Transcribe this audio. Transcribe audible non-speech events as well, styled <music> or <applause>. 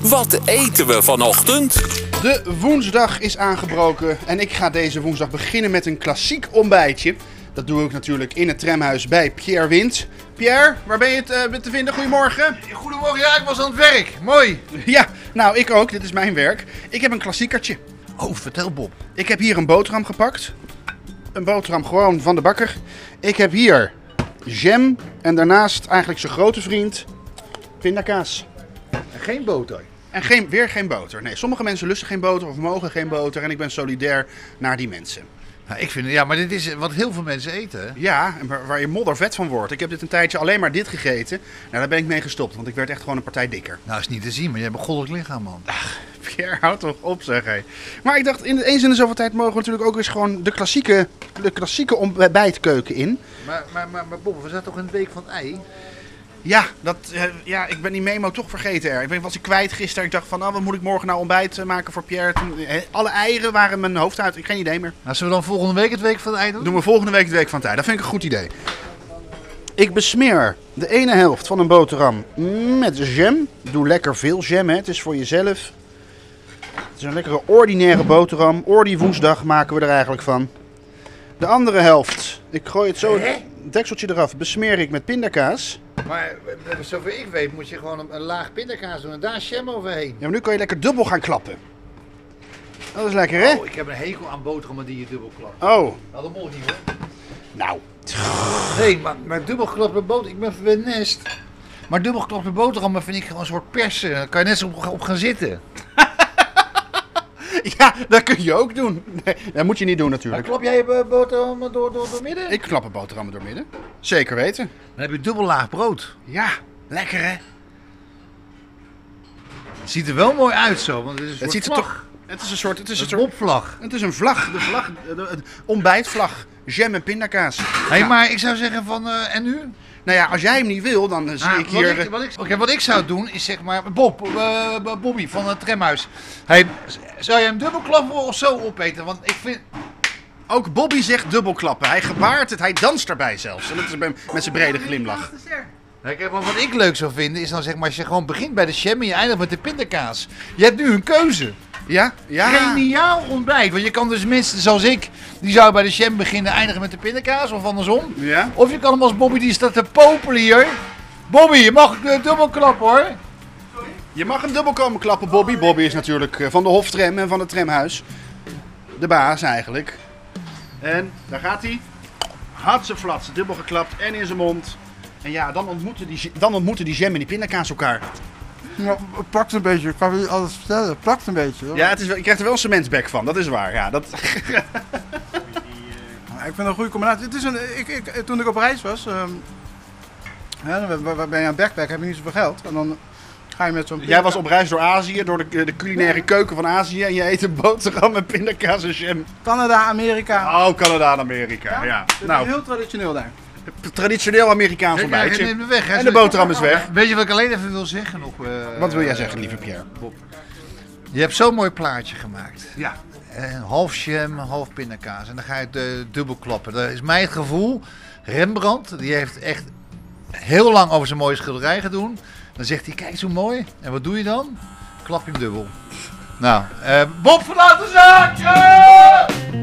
Wat eten we vanochtend? De woensdag is aangebroken en ik ga deze woensdag beginnen met een klassiek ontbijtje. Dat doe ik natuurlijk in het tramhuis bij Pierre Wind. Pierre, waar ben je het, eh, te vinden? Goedemorgen. Goedemorgen, ja, ik was aan het werk. Mooi. Ja, nou ik ook. Dit is mijn werk. Ik heb een klassiekertje. Oh, vertel Bob. Ik heb hier een boterham gepakt. Een boterham gewoon van de bakker. Ik heb hier jam en daarnaast eigenlijk zijn grote vriend pindakaas. Geen boter. En geen, weer geen boter. Nee, sommige mensen lusten geen boter of mogen geen boter. En ik ben solidair naar die mensen. Nou, ik vind, ja, maar dit is wat heel veel mensen eten. hè? Ja, en waar, waar je moddervet van wordt. Ik heb dit een tijdje alleen maar dit gegeten. Nou, daar ben ik mee gestopt, want ik werd echt gewoon een partij dikker. <laughs> Nou, is niet te zien, maar je hebt een goddelijk lichaam, man. Pierre, houd toch op, zeg hé. Maar ik dacht, in de eens in de zoveel tijd mogen we natuurlijk ook eens gewoon de klassieke, de klassieke ontbijtkeuken in. Maar, maar, maar, maar Bob, we zaten toch in de week van het ei? Ja, dat, eh, ja, ik ben die memo toch vergeten er. Ik ben, was ik kwijt gisteren. Ik dacht van, nou, wat moet ik morgen nou ontbijt eh, maken voor Pierre? Toen, eh, alle eieren waren mijn hoofd uit. Ik geen idee meer. Nou, zullen we dan volgende week het week van het ei doen? Doen we volgende week de week van tijd. Dat vind ik een goed idee. Ik besmeer de ene helft van een boterham met jam. Doe lekker veel jam, hè. het is voor jezelf. Het is een lekkere ordinaire boterham. Ordi woensdag maken we er eigenlijk van. De andere helft, ik gooi het zo het dekseltje eraf, besmeer ik met pindakaas. Maar eh, zover ik weet moet je gewoon een, een laag pindakaas doen en daar jam overheen. Ja, maar nu kan je lekker dubbel gaan klappen. Dat is lekker, hè? Oh, ik heb een hekel aan boterhammen die je dubbel klapt. Oh, Nou, dat mocht niet hoor. nou. Nee, maar, maar dubbelgeklapte boter, ik ben verwenest. Maar dubbelgeklapte boterhammen vind ik gewoon een soort persen. Daar kan je net zo op, op gaan zitten. <laughs> Ja, dat kun je ook doen. Nee, dat moet je niet doen Maar natuurlijk. klap jij je boterhammen door, door, door midden? Ik klap een boterham door midden. Zeker weten. Dan heb je dubbel laag brood. Ja, lekker hè? Het ziet er wel mooi uit zo, want het is een Het soort ziet er vlag. toch. Het is een soort. Het is een Een soort. mopvlag. Het is een vlag. De vlag. De, de- de ontbijtvlag. Jam en pindakaas. Hé, Ja. maar ik zou zeggen van, eh, en nu? Nou ja, als jij hem niet wil, dan eh, zie Ah, ik hier. Wat ik, eh, wat, ik, oké, wat ik zou doen is zeg maar, Bob, eh, eh, Bobby van het tramhuis. Hey, z- zou jij hem dubbel klappen of zo opeten? Want ik vind, eh, Ook Bobby zegt dubbelklappen. Hij gebaart het. Hij danst erbij zelfs. En dat is bij hem- met zijn brede glimlach. Nou, kijk, maar wat ik leuk zou vinden is dan zeg maar, als je gewoon begint bij de jam en je eindigt met de pindakaas. Je hebt nu een keuze. Ja? Ja. Geniaal ontbijt, want je kan dus mensen zoals ik, die zou bij de jam beginnen eindigen met de pindakaas of andersom. Ja? Of je kan hem als Bobby die staat te popelen hier. Bobby, je mag eh, dubbel klappen hoor. Je mag hem dubbel komen klappen, Bobby. Bobby is natuurlijk eh, van de Hoftram en van het tramhuis. De baas eigenlijk. En daar gaat hij. Hatse flats, dubbel geklapt en in zijn mond. En ja, dan ontmoeten die, dan ontmoeten die jam en die pindakaas elkaar. Ja, het plakt een beetje. Ik kan niet alles vertellen. Het plakt een beetje. hoor. Ja, het is wel, je krijgt er wel een cementbek van, dat is waar. Ja, dat... Maar Ik vind het een goede combinatie. Het is een, ik, ik, toen ik op reis was, ehm hè, dan ben- ben- ben je aan backpack, heb je niet zoveel geld. En dan ga je met zo'n... Jij was op reis door Azië, door de, de culinaire keuken van Azië. En je eet een boterham met pindakaas en jam. Canada, Amerika. Oh, Canada en Amerika. Ja. Het is Nou, heel traditioneel daar. traditioneel Amerikaans Ja, ja, neem ontbijtje. hem weg, hè. En de boterham is weg. Weet je wat ik alleen even wil zeggen nog? eh, Wat wil jij zeggen, lieve Pierre? Je hebt zo'n mooi plaatje gemaakt. Ja. Eh, half jam, half pindakaas. En dan ga je het eh, dubbel klappen. Dat is mijn gevoel. Rembrandt, die heeft echt heel lang over zijn mooie schilderij gedaan. Dan zegt hij, kijk eens hoe mooi. En wat doe je dan? Klap je hem dubbel. Nou, eh Bob verlaat de zaak! Ja!